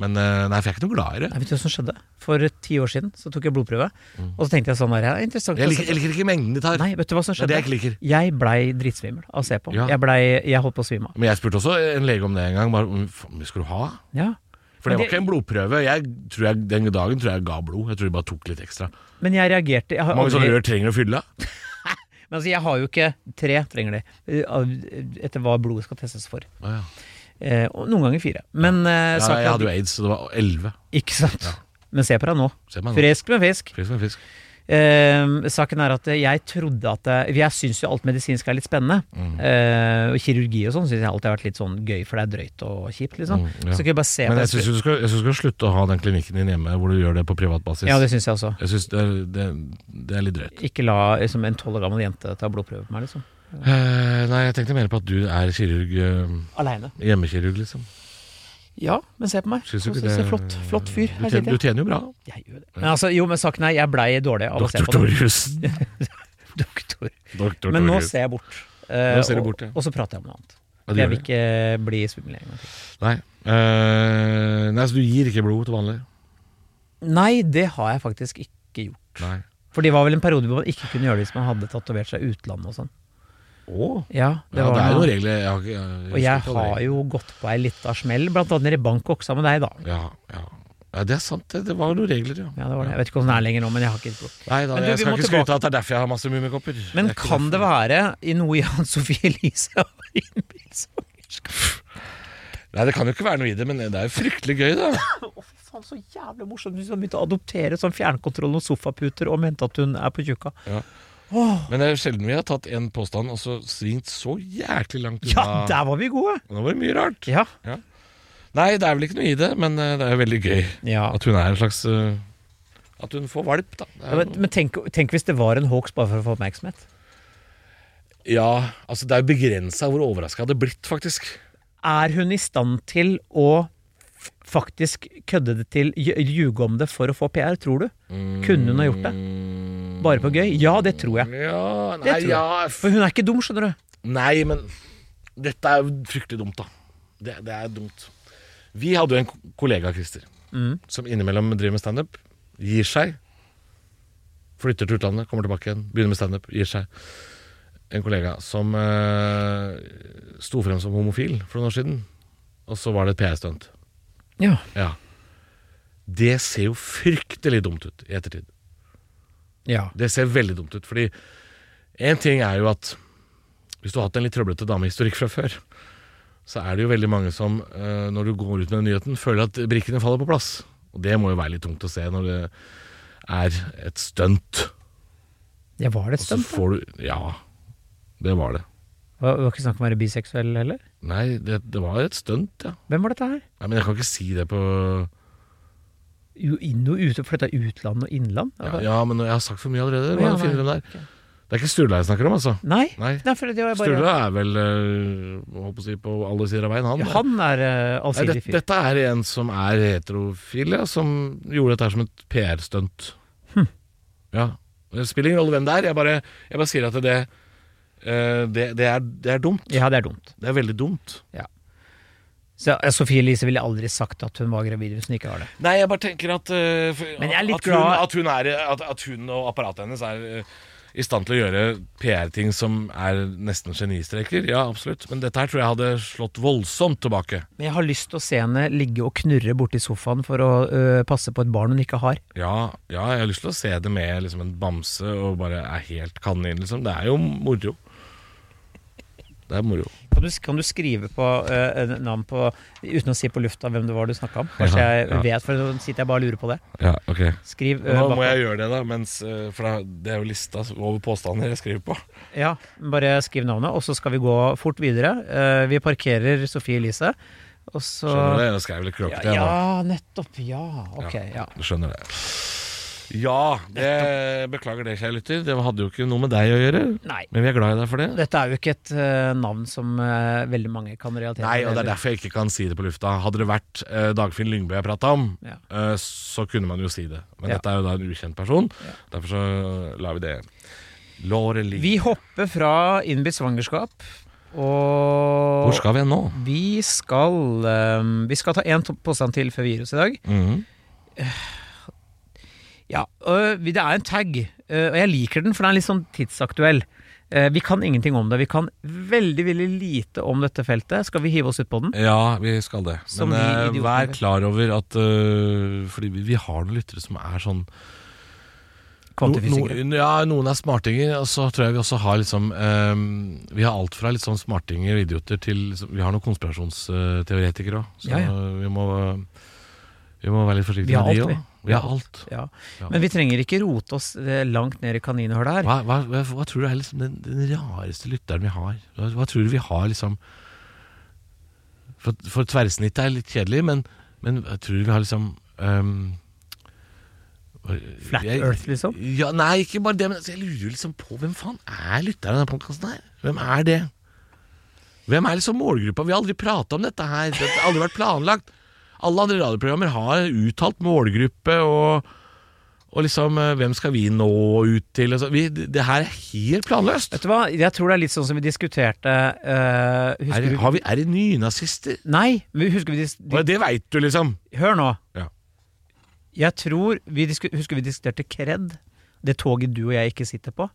C: Men eh, nei, for jeg er ikke noe glad i det.
B: Nei, vet du hva som skjedde? For ti år siden så tok jeg blodprøve, og så tenkte jeg sånn her, ja, interessant. å
C: Mm. Jeg
B: se
C: liker, jeg liker ikke mengden de
B: på.
C: tar.
B: Nei, vet du hva som
C: Det er
B: skjedde?
C: det jeg ikke liker.
B: Jeg blei dritsvimmel av å se på.
C: Ja.
B: Jeg, blei, jeg holdt på å svime av.
C: Men jeg spurte også en lege om det en gang. Bare, "Hvor mye skal du ha?
B: Ja.
C: For
B: Men
C: det var
B: det-
C: ikke en blodprøve. Jeg tror jeg, den dagen tror jeg ga blod. Jeg tror de bare tok litt ekstra.
B: Men jeg reagerte. Jeg har
C: Hvor mange sånne
B: aldri-
C: rør trenger å fylle?
B: Men altså, jeg har jo ikke tre, trenger de, eh, av- etter hva blodet skal testes for.
C: Ah, ja.
B: Eh, og noen ganger fire. Men eh,
C: Ja,
B: saken er
C: jeg
B: at-
C: hadde jo aids, så det var elleve.
B: Ikke sant? Men se på deg nå.
C: Se meg nå.
B: Frisk med fisk.
C: Frisk som en fisk.
B: Eh, saken er at jeg trodde at eh, Jeg syns jo alt medisinsk er litt spennende.
C: Mm.
B: Eh, og kirurgi og sånn syns jeg alltid har vært litt sånn gøy, for det er drøyt og kjipt, liksom.
C: Mm, ja.
B: Så kan jeg bare se
C: Men
B: på
C: jeg syns du, skal- jeg synes du skal slutte å ha den klinikken din hjemme hvor du gjør det på privat basis.
B: Ja, det syns jeg også.
C: Jeg synes det, er- det, det er litt drøyt.
B: Ikke la liksom, en tolv år gammel jente ta blodprøve på meg, liksom.
C: Eh, nei, jeg tenkte mer på at du er kirurg. eh,
B: Aleine.
C: Hjemmekirurg, liksom.
B: Ja, men se på meg.
C: Syns du
B: Og
C: ikke
B: så- så
C: det-
B: Flott, flott fyr.
C: Du
B: Her
C: tjener,
B: sitter
C: du
B: jeg.
C: tjener jo bra.
B: jeg gjør det. Men altså, jo, men saken er, jeg blei dårlig av å se
C: Doktor
B: på det. [LAUGHS]
C: Torjussen.
B: Doktor.
C: Doktor
B: Men nå
C: Torjussen.
B: ser jeg bort. eh,
C: Nå ser du
B: og-
C: bort, ja.
B: Og så prater jeg om noe annet.
C: Ja, du
B: Jeg
C: gjør
B: vil
C: det.
B: ikke bli svimmel en gang til.
C: Nei. Eh, nei, så du gir ikke blod til vanlig?
B: Nei, det har jeg faktisk ikke gjort.
C: Nei.
B: For det var vel en periode hvor man ikke kunne gjøre det hvis man hadde tatovert seg i utlandet og sånn.
C: Åh.
B: Ja, det
C: ja,
B: var
C: det er jo
B: noe.
C: noen regler. Jeg har, ikke- jeg
B: Og jeg
C: husker ikke alle
B: har
C: regler.
B: jo gått på ei lita smell, blant annet nede i Bangkok sammen med deg, da.
C: ja, ja. ja, det er sant. Det, det var noen regler, ja.
B: Ja, det var det. Jeg vet ikke hvordan det er lenger nå, men jeg har ikke gitt blod.
C: Nei da,
B: Men du,
C: jeg
B: vi
C: skal
B: må
C: ikke
B: tilbake-
C: skryte av at det er derfor jeg har masse mummikopper.
B: Men
C: Det er ikke
B: kan det
C: derfor.
B: være i noe Jan Sofie Elise har innbilsfangerskap?
C: Nei, det kan jo ikke være noe i det, men det er jo fryktelig gøy, da.
B: Å, fy faen, så jævlig morsomt hvis hun begynte å adoptere sånn fjernkontroll og sofaputer og mente at hun er på tjukka.
C: Men det er sjelden vi har tatt en påstand og så svingt så jæklig langt
B: Ja,
C: unna.
B: der var vi gode!
C: Nå var det mye rart.
B: Ja.
C: Nei, det er vel ikke noe i det, men eh, det er jo veldig gøy
B: ja.
C: at hun er en slags eh, At hun får valp, da. Det er
B: Ja, men
C: jo-
B: men tenk, tenk hvis det var en hoax bare for å få oppmerksomhet.
C: ja, altså det er jo begrensa hvor overraska jeg hadde blitt, faktisk.
B: Er hun i stand til å faktisk kødde det til, lj- ljuge om det for å få PR, tror du? Kunne hun ha gjort det? Bare på gøy? Ja, det tror jeg.
C: Ja,
B: Det
C: nei,
B: tror jeg.
C: ja f-
B: For hun er ikke dum, skjønner du.
C: Nei, men dette er jo fryktelig dumt, da. Det, det er dumt. Vi hadde jo en ko- kollega, Christer,
B: Mm.
C: som innimellom driver med standup. Gir seg. Flytter til utlandet, kommer tilbake igjen, begynner med standup, gir seg. En kollega som eh, sto frem som homofil for noen år siden. Og så var det et PR-stunt.
B: Ja.
C: Ja. Det ser jo fryktelig dumt ut i ettertid.
B: ja.
C: Det ser veldig dumt ut, fordi en ting er jo at hvis du har hatt en litt trøblete damehistorikk fra før, så er det jo veldig mange som, eh, når du går ut med den nyheten, føler at brikkene faller på plass. Og det må jo være litt tungt å se når det er et stunt.
B: Det var det et
C: Og så
B: stunt. da.
C: får du Ja, det var det.
B: Det var ikke snakk om å være biseksuell heller.
C: Nei, det, det var et stunt, ja.
B: Hvem var dette her?
C: Nei, Men jeg kan ikke si det på
B: Jo, inn og ute, for dette er utland og innland.
C: Ja, ja men jeg har sagt for mye allerede. Hva
B: Ja,
C: finner du
B: nei.
C: der? Det er ikke Sturla jeg snakker om, altså.
B: Nei.
C: Nei.
B: Nei, for det var bare
C: Sturla er vel eh, holdt på, å si, på alle sider av veien, han.
B: ja, Han er uh,
C: Nei,
B: allsidig
C: det,
B: fyr.
C: dette er en som er heterofil, ja, som gjorde dette her som et PR-stunt.
B: Hm.
C: Ja. Det spiller ingen rolle hvem det er, jeg bare, jeg bare sier at det, eh, det, det, er, det er dumt.
B: Ja, det er dumt.
C: Det er veldig dumt.
B: Så, eh, Sophie Elise ville aldri sagt at hun var gravid hvis hun ikke var det.
C: Nei, jeg bare tenker at eh, for-
B: Men jeg er litt
C: at, hun,
B: glad-
C: at, hun er, at, at hun og apparatet hennes er eh, i stand til å gjøre PR-ting som er nesten genistreker. Ja, absolutt. Men dette her tror jeg hadde slått voldsomt tilbake.
B: Men jeg har lyst til å se henne ligge og knurre borti sofaen for å eh, passe på et barn hun ikke har.
C: Ja, ja, jeg har lyst til å se det med liksom, en bamse og bare er helt kanin, liksom. Det er jo moro. Det er moro.
B: Kan du, kan du skrive på eh, en navn på Uten å si på lufta hvem det var du snakka om? Kanskje
C: Ja,
B: jeg
C: ja.
B: vet, for nå sitter jeg bare og lurer på det.
C: Ja, ok.
B: Skriv eh,
C: Nå
B: bak-
C: må jeg gjøre det, da, mens, eh, for da- det er jo lista over påstander jeg skriver på.
B: Ja, bare skriv navnet, og så skal vi gå fort videre. Eh, vi parkerer Sofie Elise, og så
C: Skjønner du det? Jeg skrev litt
B: Ah. ja,
C: krokete. jeg,
B: ja,
C: da.
B: nettopp. Ja. Ok, ja.
C: Du skjønner det. Ja, det, beklager det, kjære lytter. Det hadde jo ikke noe med deg å gjøre.
B: Nei.
C: Men vi er glad i deg for det.
B: Dette er jo ikke et eh, navn som eh, veldig mange kan relatere
C: Nei, og det er
B: heller.
C: derfor jeg ikke kan si det på lufta. Hadde det vært eh, Dagfinn Lyngbø jeg prata om,
B: Ja.
C: eh, så kunne man jo si det. Men
B: Ja.
C: dette er jo da en ukjent person, derfor så lar vi det. Låret ligger
B: Vi hopper fra innbitt svangerskap, og
C: Hvor skal vi nå?
B: Vi skal, eh, vi skal ta én påstand til før vi gir oss i dag.
C: Mhm.
B: Ja, øh, vi- det er en tag, øh, og jeg liker den, for den er litt sånn tidsaktuell. Eh, Vi kan ingenting om det. Vi kan veldig veldig lite om dette feltet. Skal vi hive oss ut på den?
C: Ja, vi skal det.
B: Som
C: Men
B: vi
C: eh,
B: idioter.
C: vær klar over at eh, Fordi vi, vi har noen lyttere som er sånn no,
B: Kvantefysikere.
C: no- Ja, noen er smartinger, og så tror jeg vi også har liksom eh, Vi har alt fra litt sånn smartinger og idioter til liksom, Vi har noen konspirasjonsteoretikere òg, så
B: Ja, ja.
C: vi må vi må være litt
B: Vi
C: forsiktige
B: har
C: med de
B: alt,
C: òg.
B: vi.
C: Vi har alt.
B: Ja.
C: Ja.
B: Men vi trenger ikke rote oss eh, langt ned i kaninhullet her.
C: Hva, hva, hva, hva tror du er liksom den, den rareste lytteren vi har? Hva, hva tror du vi har liksom For, for tverrsnittet er litt kjedelig, men, men jeg tror vi har liksom øhm, hva-
B: Flat
C: jeg-
B: Earth, liksom?
C: Ja, nei, ikke bare det, men jeg lurer liksom på hvem faen er lytteren av denne podkasten her? Hvem er det? Hvem er liksom målgruppa? Vi har aldri prata om dette her. Det har aldri vært planlagt. Alle andre radioprogrammer har uttalt målgruppe og og liksom, eh, hvem skal vi nå ut til? Og så- vi, det det her er helt planløst.
B: Vet du hva, jeg tror det er litt sånn som vi diskuterte eh,
C: Er,
B: Husker
C: det-
B: vi
C: har vi, er det nynazister?
B: Nei, men husker vi dis
C: Og Det veit du, liksom.
B: Hør nå.
C: Ja.
B: Jeg tror vi disku Husker vi diskuterte kred? Det toget du og jeg ikke sitter på?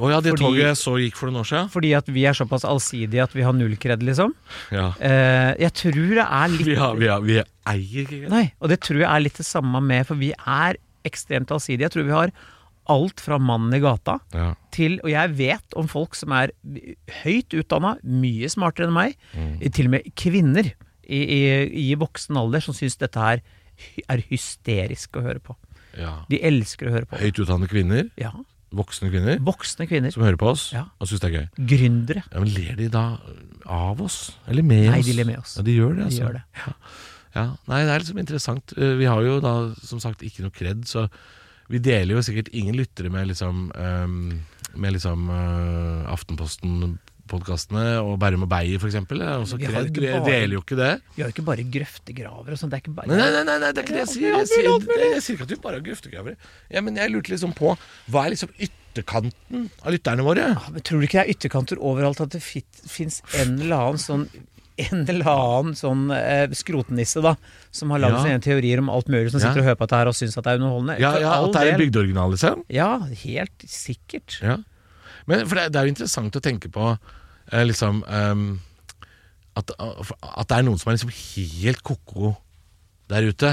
C: Å ja, det
B: Fordi-
C: toget jeg så gikk for noen år siden.
B: Fordi at vi er såpass allsidige at vi har null kred, liksom?
C: Ja.
B: Eh, jeg tror det er litt
C: [LAUGHS] Vi, har, vi, har, vi eier ikke
B: Nei, og det tror jeg er litt det samme med, for vi er ekstremt allsidige. Jeg tror vi har alt fra mannen i gata
C: Ja.
B: til Og jeg vet om folk som er høyt utdanna, mye smartere enn meg,
C: Mm.
B: Eh, til og med kvinner i, i, i voksen alder, som syns dette her hy- er hysterisk å høre på.
C: Ja.
B: De elsker å høre på.
C: Høyt utdannede kvinner,
B: Ja.
C: voksne kvinner,
B: Voksne kvinner.
C: som hører på oss
B: Ja.
C: og syns det er gøy.
B: Gründere.
C: Ja, men Ler de da av oss? Eller med
B: Nei,
C: oss?
B: de ler med oss.
C: Ja, de gjør
B: De
C: det, altså.
B: gjør det.
C: Ja, nei, det er liksom interessant. Eh, Vi har jo da som sagt ikke noe kred, så vi deler jo sikkert ingen lyttere med liksom, ehm, med liksom eh, Aftenposten podkastene, og Bærum og Beyer f.eks. Også
B: Vi har
C: Kred
B: ikke
C: gre-
B: bare-
C: deler jo ikke det.
B: Vi har jo ikke bare grøftegraver og sånn. Det er ikke bare
C: Nei, nei, nei, nei, nei, det er ikke det jeg sier. Jeg
B: Alt mulig,
C: sier,
B: alt mulig.
C: jeg sier ikke at vi bare har grøftegravere. Ja, men jeg lurte liksom på Hva er liksom ytterkanten av lytterne våre?
B: Ja, men Tror du ikke det er ytterkanter overalt at det fins en eller annen sånn en eller annen sånn eh, skrotnisse da som har lagd
C: Ja.
B: sine teorier om alt mulig, som
C: Ja.
B: sitter og hører på dette her og syns at det er underholdende?
C: Ja,
B: For
C: ja
B: all
C: At det er en
B: del.
C: bygdeoriginal, liksom?
B: Ja, helt sikkert.
C: Ja. Men for det, det er jo interessant å tenke på eh, liksom ehm, at, at det er noen som er liksom helt ko-ko der ute.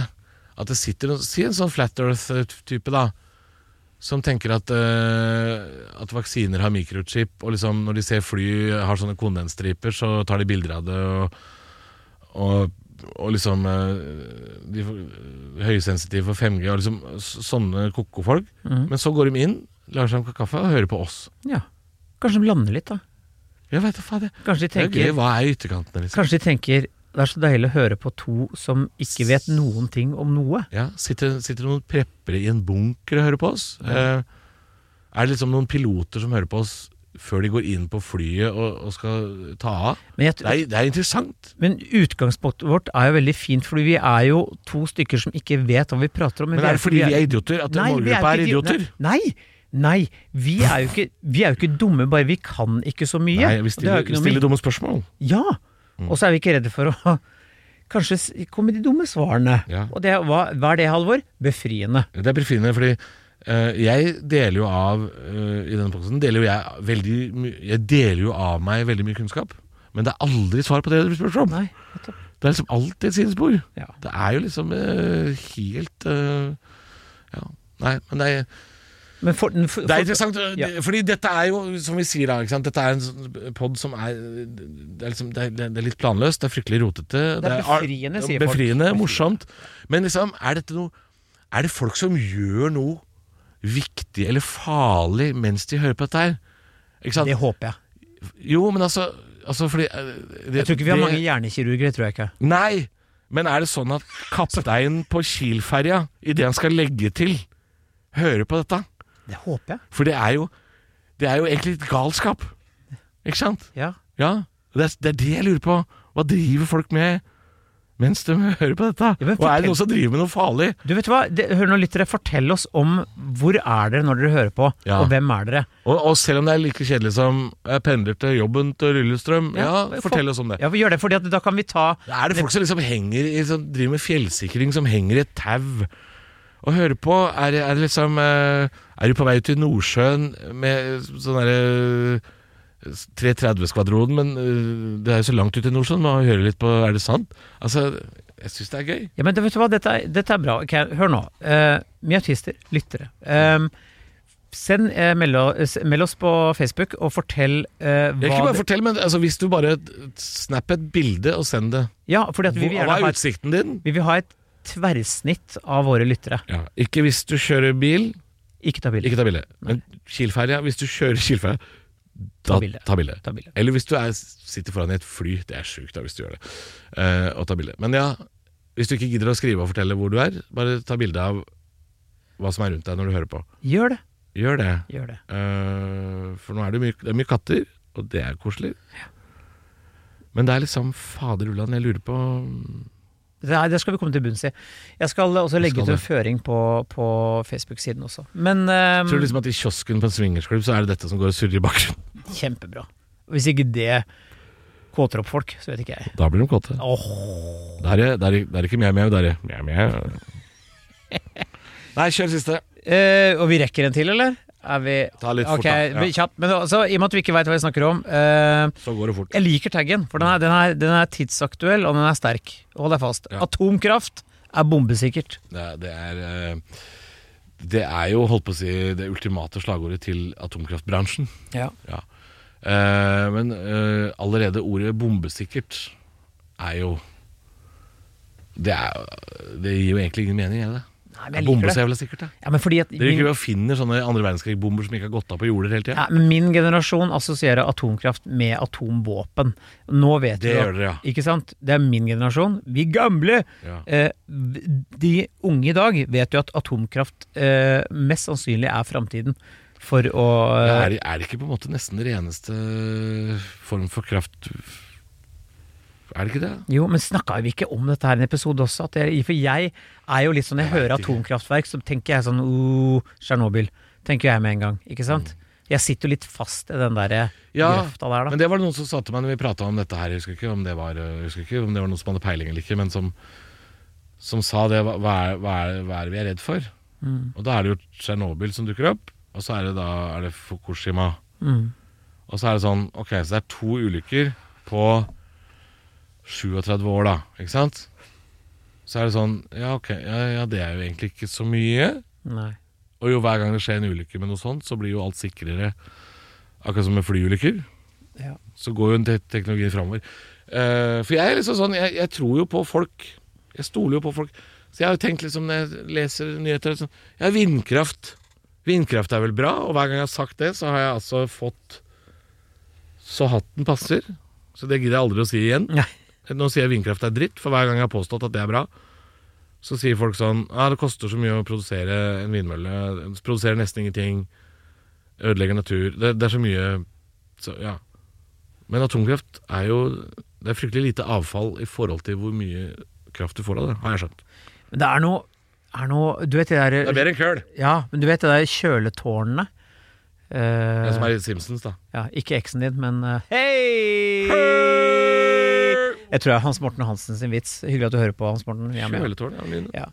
C: At det sitter noen- Si en sånn Flat Earth-type, da. Som tenker at, eh, at vaksiner har mikrochip, og liksom når de ser fly har sånne kondensstriper, så tar de bilder av det, og, og, og liksom eh, De er høysensitive for 5G, og liksom s- sånne ko-ko-folk.
B: Mhm.
C: Men så går de inn, lager seg en kopp kaffe og hører på oss.
B: Ja. Kanskje de lander litt, da.
C: Jeg vet, da faen, det,
B: Kanskje de
C: det er gøy.
B: tenker,
C: Hva er ytterkantene, liksom?
B: kanskje de tenker det er så deilig å høre på to som ikke vet noen ting om noe.
C: Ja, sitter, sitter noen preppere i en bunker og hører på oss? Eh, er det liksom noen piloter som hører på oss før de går inn på flyet og, og skal ta av?
B: Men,
C: Det
B: jeg,
C: er, det er interessant.
B: men utgangspunktet vårt er jo veldig fint, fordi vi er jo to stykker som ikke vet hva vi prater om.
C: Men er det fordi vi er idioter? At
B: Nei, vi
C: målgruppa er
B: jo ikke
C: idioter?
B: idi- Nei! nei, nei vi, er jo ikke, vi er jo ikke dumme, bare vi kan ikke så mye.
C: Nei,
B: Og det er
C: vi
B: jo ikke
C: stiller,
B: noe
C: vi
B: med-
C: stiller dumme Mm. spørsmål.
B: Ja! Og så er vi ikke redde for å [LAUGHS] kanskje s- komme med de dumme svarene.
C: Ja.
B: Og det, hva, hva er det, Halvor? Befriende.
C: Det er befriende, fordi eh, jeg deler jo av eh, I denne podcasten deler jo jeg veldig my Jeg deler jo av meg veldig mye kunnskap. Men det er aldri svar på det du spør om.
B: Nei, nettopp.
C: Det er liksom alltid et sidespor.
B: Ja.
C: Det er jo liksom eh, helt eh, Ja. Nei, men det er,
B: Men for, for,
C: det er
B: for,
C: interessant. eh, det- Fordi dette er jo, som vi sier da, ikke sant? dette er en sånn pod som er Det er, liksom, det er, det er litt planløst, det er fryktelig rotete.
B: Det er
C: ar-
B: befriende, sier folk.
C: befriende, morsomt. Men liksom, er dette noe Er det folk som gjør noe viktig eller farlig mens de hører på dette her? Ikke sant?
B: det håper jeg.
C: Jo, men altså, altså fordi eh, det,
B: Jeg tror ikke vi har
C: det-
B: mange hjernekirurger, det tror jeg ikke.
C: Nei, men er det sånn at kapteinen på Kiel-ferja, idet han skal legge til, hører på dette?
B: Det håper jeg.
C: For det er jo, det er jo egentlig litt galskap. Ikke sant?
B: Ja.
C: Ja. Det er, det er det jeg lurer på. Hva driver folk med mens de hører på dette?
B: Ja, men
C: Og er
B: fortell-
C: det noen som driver med noe farlig?
B: Du vet hva, det, hør nå litt dere, fortell oss om hvor er dere når dere hører på,
C: Ja.
B: og hvem er dere?
C: Og, og selv om det er like kjedelig som jeg pendler til jobben til Lillestrøm, ja,
B: Ja,
C: fortell oss om det.
B: Ja, vi gjør det, fordi at da kan vi ta
C: Er det folk som liksom henger i, som driver med fjellsikring, som henger i et tau og hører på? Er, det- er det liksom eh, Er du på vei ut i Nordsjøen med sånn derre 330-skvadronen, men eh, det er jo så langt ut i Nordsjøen, man hører litt på Er det sant? Altså, jeg syns det er gøy.
B: Ja, men det- vet du hva, dette er, dette er bra. Ok, hør nå. Uh, Miautister, lyttere. Ehm, send, eh, meld, o- s- meld oss på Facebook og fortell eh,
C: Jeg ikke
B: hva
C: bare
B: det-
C: fortell, men altså, Hvis du bare snapper et bilde og send det
B: Ja, fordi at vi vil
C: Hvor-
B: gjerne
C: Hva
B: ha
C: er
B: et,
C: utsikten din?
B: vi vil ha et tverrsnitt av våre lyttere.
C: Ja, ikke hvis du kjører bil,
B: Ikke ta bilde.
C: ikke ta bilde. Men Kielferja, hvis du kjører Kielferja, da
B: Ta bilde.
C: ta bilde.
B: Ta bilde.
C: Eller hvis du er, sitter foran i et fly. Det er sjukt da hvis du gjør det. Eh, og ta bilde. Men ja, hvis du ikke gidder å skrive og fortelle hvor du er, bare ta bilde av hva som er rundt deg når du hører på.
B: Gjør det.
C: Gjør det.
B: Gjør det.
C: Eh, for nå er det, mye, det er mye katter, og det er koselig. Men det er liksom Fader ulland, jeg lurer på
B: Det, er, det skal vi komme til bunns i. Jeg skal også legge
C: skal
B: ut en
C: det.
B: føring på, på Facebook-siden også. Men ehm,
C: Tror du liksom at i kiosken på en swingersklubb så er det dette som går og surrer i bakgrunnen?
B: kjempebra. Hvis ikke det kåter opp folk, så vet ikke jeg.
C: [LAUGHS] Da blir de kåte.
B: Åh,
C: Der er, der er, der er ikke mjau-mjau, der er mjau-mjau. [LAUGHS] Nei, kjør siste.
B: Eh, og vi rekker en til, eller? Er vi
C: Ta litt
B: Ok,
C: fort, da. Ja,
B: kjapt. Men altså, I og med at vi ikke veit hva vi snakker om eh,
C: så går det fort.
B: Jeg liker taggen, for den er, den, er, den er tidsaktuell, og den er sterk. Hold deg fast.
C: Ja.
B: Atomkraft er bombesikkert.
C: Det, er- det er eh, Det er jo, holdt på å si, det ultimate slagordet til atomkraftbransjen.
B: Ja.
C: Ja. Eh, men eh, allerede ordet bombesikkert er jo Det, er, det gir jo egentlig ingen mening, er det?
B: Nei,
C: det
B: men jeg liker
C: er
B: det.
C: bombesevla sikkert, det.
B: Ja, men fordi at
C: Dere driver
B: min,
C: ikke og finner sånne andre verdenskrig-bomber som ikke har gått av på jorder hele tida?
B: ja, men min generasjon assosierer atomkraft med atomvåpen. Nå vet
C: Det
B: vi
C: gjør dere, ja.
B: Ikke sant? Det er min generasjon. Vi gamle!
C: ja.
B: Eh, de unge i dag vet jo at atomkraft eh, mest sannsynlig er framtiden. for å eh,
C: Er, det- er det ikke på en måte nesten det reneste form for kraft Er det ikke det?
B: Jo, men snakka vi ikke om dette her i en episode også? At jeg, for jeg er jo litt sånn, jeg
C: Jeg vet
B: hører
C: ikke.
B: atomkraftverk, så tenker jeg sånn uh, Tsjernobyl. Tenker jeg med en gang, ikke sant? Jeg sitter jo litt fast i den der
C: Mm.
B: eh,
C: Ja,
B: grøfta der, da.
C: Men det var det noen som sa til meg når vi prata om dette her, jeg husker ikke om det var, jeg husker ikke om det var noen som hadde peiling eller ikke, men som, som sa det. Hva, hva, er, hva, er, hva er det vi er redd for?
B: Mm,
C: Og da er det jo Tsjernobyl som dukker opp, og så er det da er det Fukushima.
B: Mm.
C: Og så er det sånn Ok, så det er to ulykker på 37 år, da. Ikke sant? Så er det sånn Ja, ok, ja, ja det er jo egentlig ikke så mye.
B: Nei.
C: Og jo hver gang det skjer en ulykke med noe sånt, så blir jo alt sikrere. Akkurat som med flyulykker.
B: Ja.
C: Så går jo te- teknologien framover. Eh, for jeg er liksom sånn jeg, jeg tror jo på folk. Jeg stoler jo på folk. Så jeg har jo tenkt liksom når jeg leser nyheter sånn, Ja, vindkraft. Vindkraft er vel bra? Og hver gang jeg har sagt det, så har jeg altså fått Så hatten passer. Så det gidder jeg aldri å si igjen.
B: Nei.
C: Nå sier jeg vindkraft er dritt, for hver gang jeg har påstått at det er bra, så sier folk sånn Ja, ah, det koster så mye å produsere en vindmølle. Det Produserer nesten ingenting. Ødelegger natur. Det, det er så mye så, Ja. Men atomkraft er jo Det er fryktelig lite avfall i forhold til hvor mye kraft du får av det, har jeg skjønt.
B: Men det er noe, er noe Du vet det
C: Det er
B: der
C: bedre enn køl.
B: Ja, men du vet det der kjøletårnene? Eh,
C: Det som er i Simpsons, da.
B: ja, ikke eksen din, men eh, hei! Jeg tror det er Hans Morten Hansen sin vits. Hyggelig at du hører på, Hans Morten. Vi er med.
C: Kjøletårn, ja. men-
B: Ja.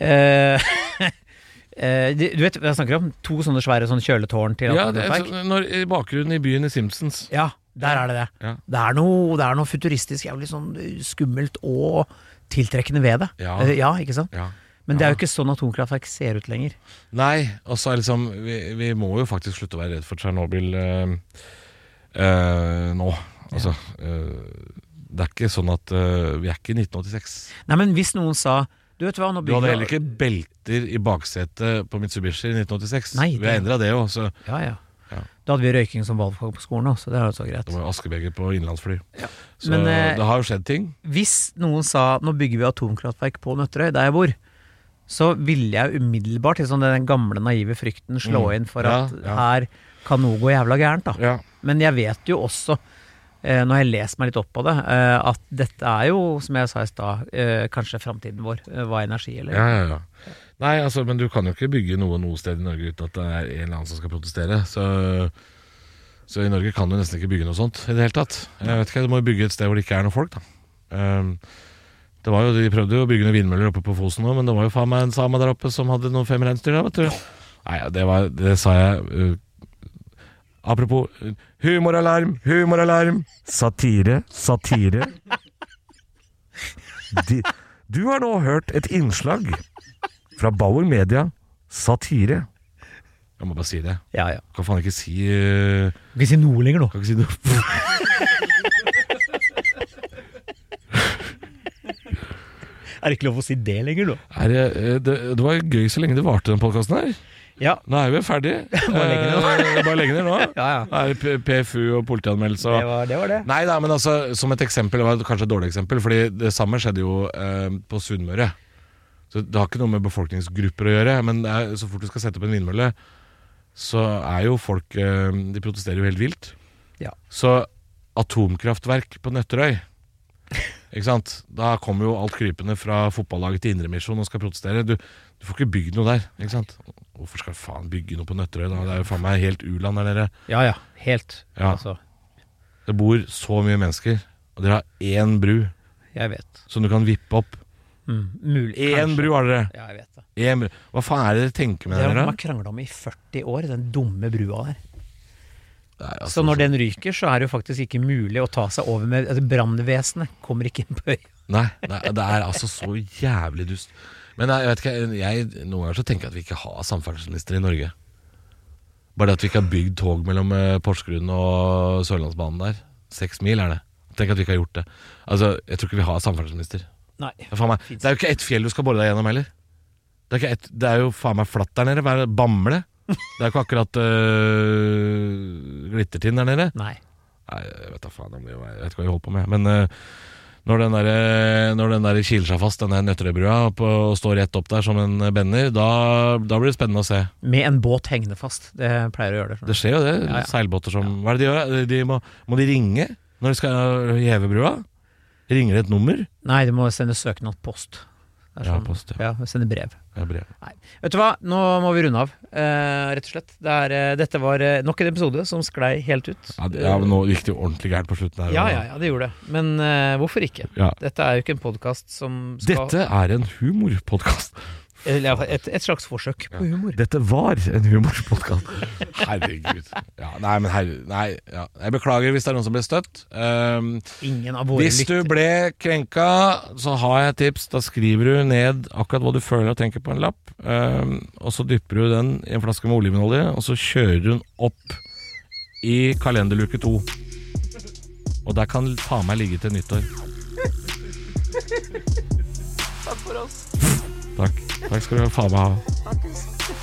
B: Eh, [LAUGHS] eh, de- du vet, jeg snakker om to sånne svære sånne kjøletårn til
C: Ja, det er,
B: atomkraftverk.
C: så- når, I bakgrunnen i byen i Simpsons.
B: Ja, der er det det.
C: Ja.
B: Det, er noe, det er noe futuristisk, jævlig sånn eh, skummelt og tiltrekkende ved det.
C: Ja.
B: Eh, ja ikke sant?
C: Ja.
B: Men det er jo ikke sånn atomkraftverk ser ut lenger.
C: Nei, og så er liksom vi, vi må jo faktisk slutte å være redd for Tsjernobyl eh, eh, nå. Altså eh, Det er ikke sånn at eh, Vi er ikke i 1986.
B: Nei, men hvis noen sa Du vet hva, nå
C: Du hadde
B: bygger
C: heller ikke belter i baksetet på Mitsubishi i 1986.
B: Nei,
C: vi har
B: det-
C: endra det jo, så
B: Ja, ja.
C: Ja.
B: Da hadde vi røyking som valgfag på skolen òg, så det er jo så greit.
C: det var jo askebeger på innenlandsfly. Så
B: Men, eh,
C: det har jo skjedd ting.
B: Hvis noen sa 'nå bygger vi atomkraftverk på Nøtterøy, der jeg bor', så ville jeg jo umiddelbart til sånn den gamle naive frykten slå
C: Mm.
B: inn for
C: Ja,
B: at
C: ja.
B: her kan noe gå jævla gærent, da.
C: Ja.
B: Men jeg vet jo også, eh, når jeg leser meg litt opp på det, eh, at dette er jo, som jeg sa i stad, eh, kanskje framtiden vår. eh, Hva energi eller
C: Ja, ja, ja. Nei, altså, men du kan jo ikke bygge noe noe sted i Norge uten at det er en eller annen som skal protestere. Så, så i Norge kan du nesten ikke bygge noe sånt i det hele tatt. Jeg vet ikke, Du må jo bygge et sted hvor det ikke er noen folk, da. Ehm, det var jo, De prøvde jo å bygge noen vindmøller oppe på Fosen nå, men det var jo faen meg en same der oppe som hadde noen fem reinsdyr der, vet du. Nei, ja, det, var, det sa jeg uh, Apropos uh, humoralarm, humoralarm!
A: Satire, satire. De, du har nå hørt et innslag fra Bauer Media. Satire.
C: Jeg må bare si det.
B: Ja, ja.
C: Kan faen ikke si uh,
B: Kan ikke si noe lenger nå.
C: Kan ikke si noe. [LAUGHS]
B: Er det ikke lov å si det lenger nå?
C: Er det, eh, det, det var gøy så lenge det varte, den podkasten her.
B: Ja.
C: Nå er vi ferdige.
B: [LAUGHS] Bare legge ned nå.
C: Eh, Bare legge ned nå.
B: [LAUGHS] Ja, ja.
C: Nå er det P- PFU og politianmeldelse
B: Det
C: og
B: var det. Var det.
C: Nei da, men altså, som et eksempel, det var kanskje et dårlig eksempel, fordi det samme skjedde jo eh, på Sunnmøre. Så det har ikke noe med befolkningsgrupper å gjøre, men det er, så fort du skal sette opp en vindmølle, så er jo folk eh, De protesterer jo helt vilt.
B: Ja.
C: Så atomkraftverk på Nøtterøy Ikke sant? Da kommer jo alt krypende fra fotballaget til Indremisjon og skal protestere. Du, du får ikke bygd noe der. Ikke sant? Hvorfor skal faen bygge noe på Nøtterøy? Da? Det er jo faen meg helt u-land der nede.
B: Ja ja. Helt.
C: Ja.
B: Altså,
C: Det bor så mye mennesker, og dere har én bru
B: jeg vet.
C: som du kan vippe opp.
B: Mm, mulig.
C: Én
B: kanskje.
C: bru har dere!
B: Ja, jeg vet det.
C: En bru. Hva faen er det dere tenker med
B: Det har
C: dere?
B: man krangla om i 40 år, den dumme brua der.
C: Nei, altså,
B: Så når den ryker, så er det jo faktisk ikke mulig å ta seg over med altså, Brannvesenet kommer ikke inn på øya.
C: nei, nei, det er altså så jævlig dust. Men nei, jeg vet ikke, jeg, noen ganger så tenker jeg at vi ikke har samferdselsminister i Norge. Bare det at vi ikke har bygd tog mellom eh, Porsgrunn og Sørlandsbanen der. Seks mil er det. Tenk at vi ikke har gjort det. Altså, Jeg tror ikke vi har samferdselsminister.
B: Nei.
C: Det er, faen meg, det er jo ikke ett fjell du skal bore deg gjennom heller. Det er, ikke ett- det er jo faen meg flatt der nede. Hva er det? Bamble? Det er jo ikke akkurat øh, glittertind der nede.
B: Nei.
C: Nei, jeg vet da faen om det Jeg vet ikke hva jeg holder på med. Men øh, Når den der, øh, når den der kiler seg fast, denne nøtterøybrua, på- og står rett opp der som en bender, da, da blir det spennende å se.
B: Med en båt hengende fast. Det pleier å gjøre det.
C: Det skjer jo det.
B: Ja, ja.
C: Seilbåter som Hva er det de gjør? De må, må de ringe når de skal øh, heve brua? Ringer det et nummer?
B: Nei, du må sende søknad post. Det er
C: Ja,
B: sånn-
C: post, ja.
B: ja. Sende brev.
C: Ja, brev.
B: Vet du hva, nå må vi runde av, eh, rett og slett. Det er, eh, dette var eh, nok en episode som sklei helt ut.
C: Ja, det, ja, men nå gikk det jo ordentlig gærent på slutten her.
B: ja, ja, ja, det gjorde det. Men eh, hvorfor ikke?
C: Ja.
B: Dette er jo ikke en podkast som skal
C: Dette er en humorpodkast.
B: Eller iallfall et, et slags forsøk på humor.
A: Dette var en humorpodkast.
C: Herregud. Ja, nei, men herre... Nei, ja. Jeg beklager hvis det er noen som ble støtt. Ehm,
B: Ingen av våre
C: hvis du
B: lyttere
C: ble krenka, så har jeg et tips. Da skriver du ned akkurat hva du føler og tenker på en lapp, ehm, og så dypper du den i en flaske med olivenolje, og så kjører du den opp i kalenderluke to. Og der kan faen meg ligge til nyttår. Takk for oss. Takk. Takk skal du faen meg ha.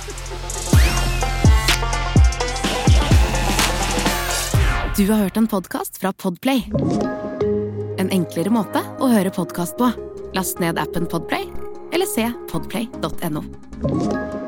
D: Du har hørt en podcast fra Podplay En enklere måte å høre podcast på Last ned appen Podplay Eller se podplay.no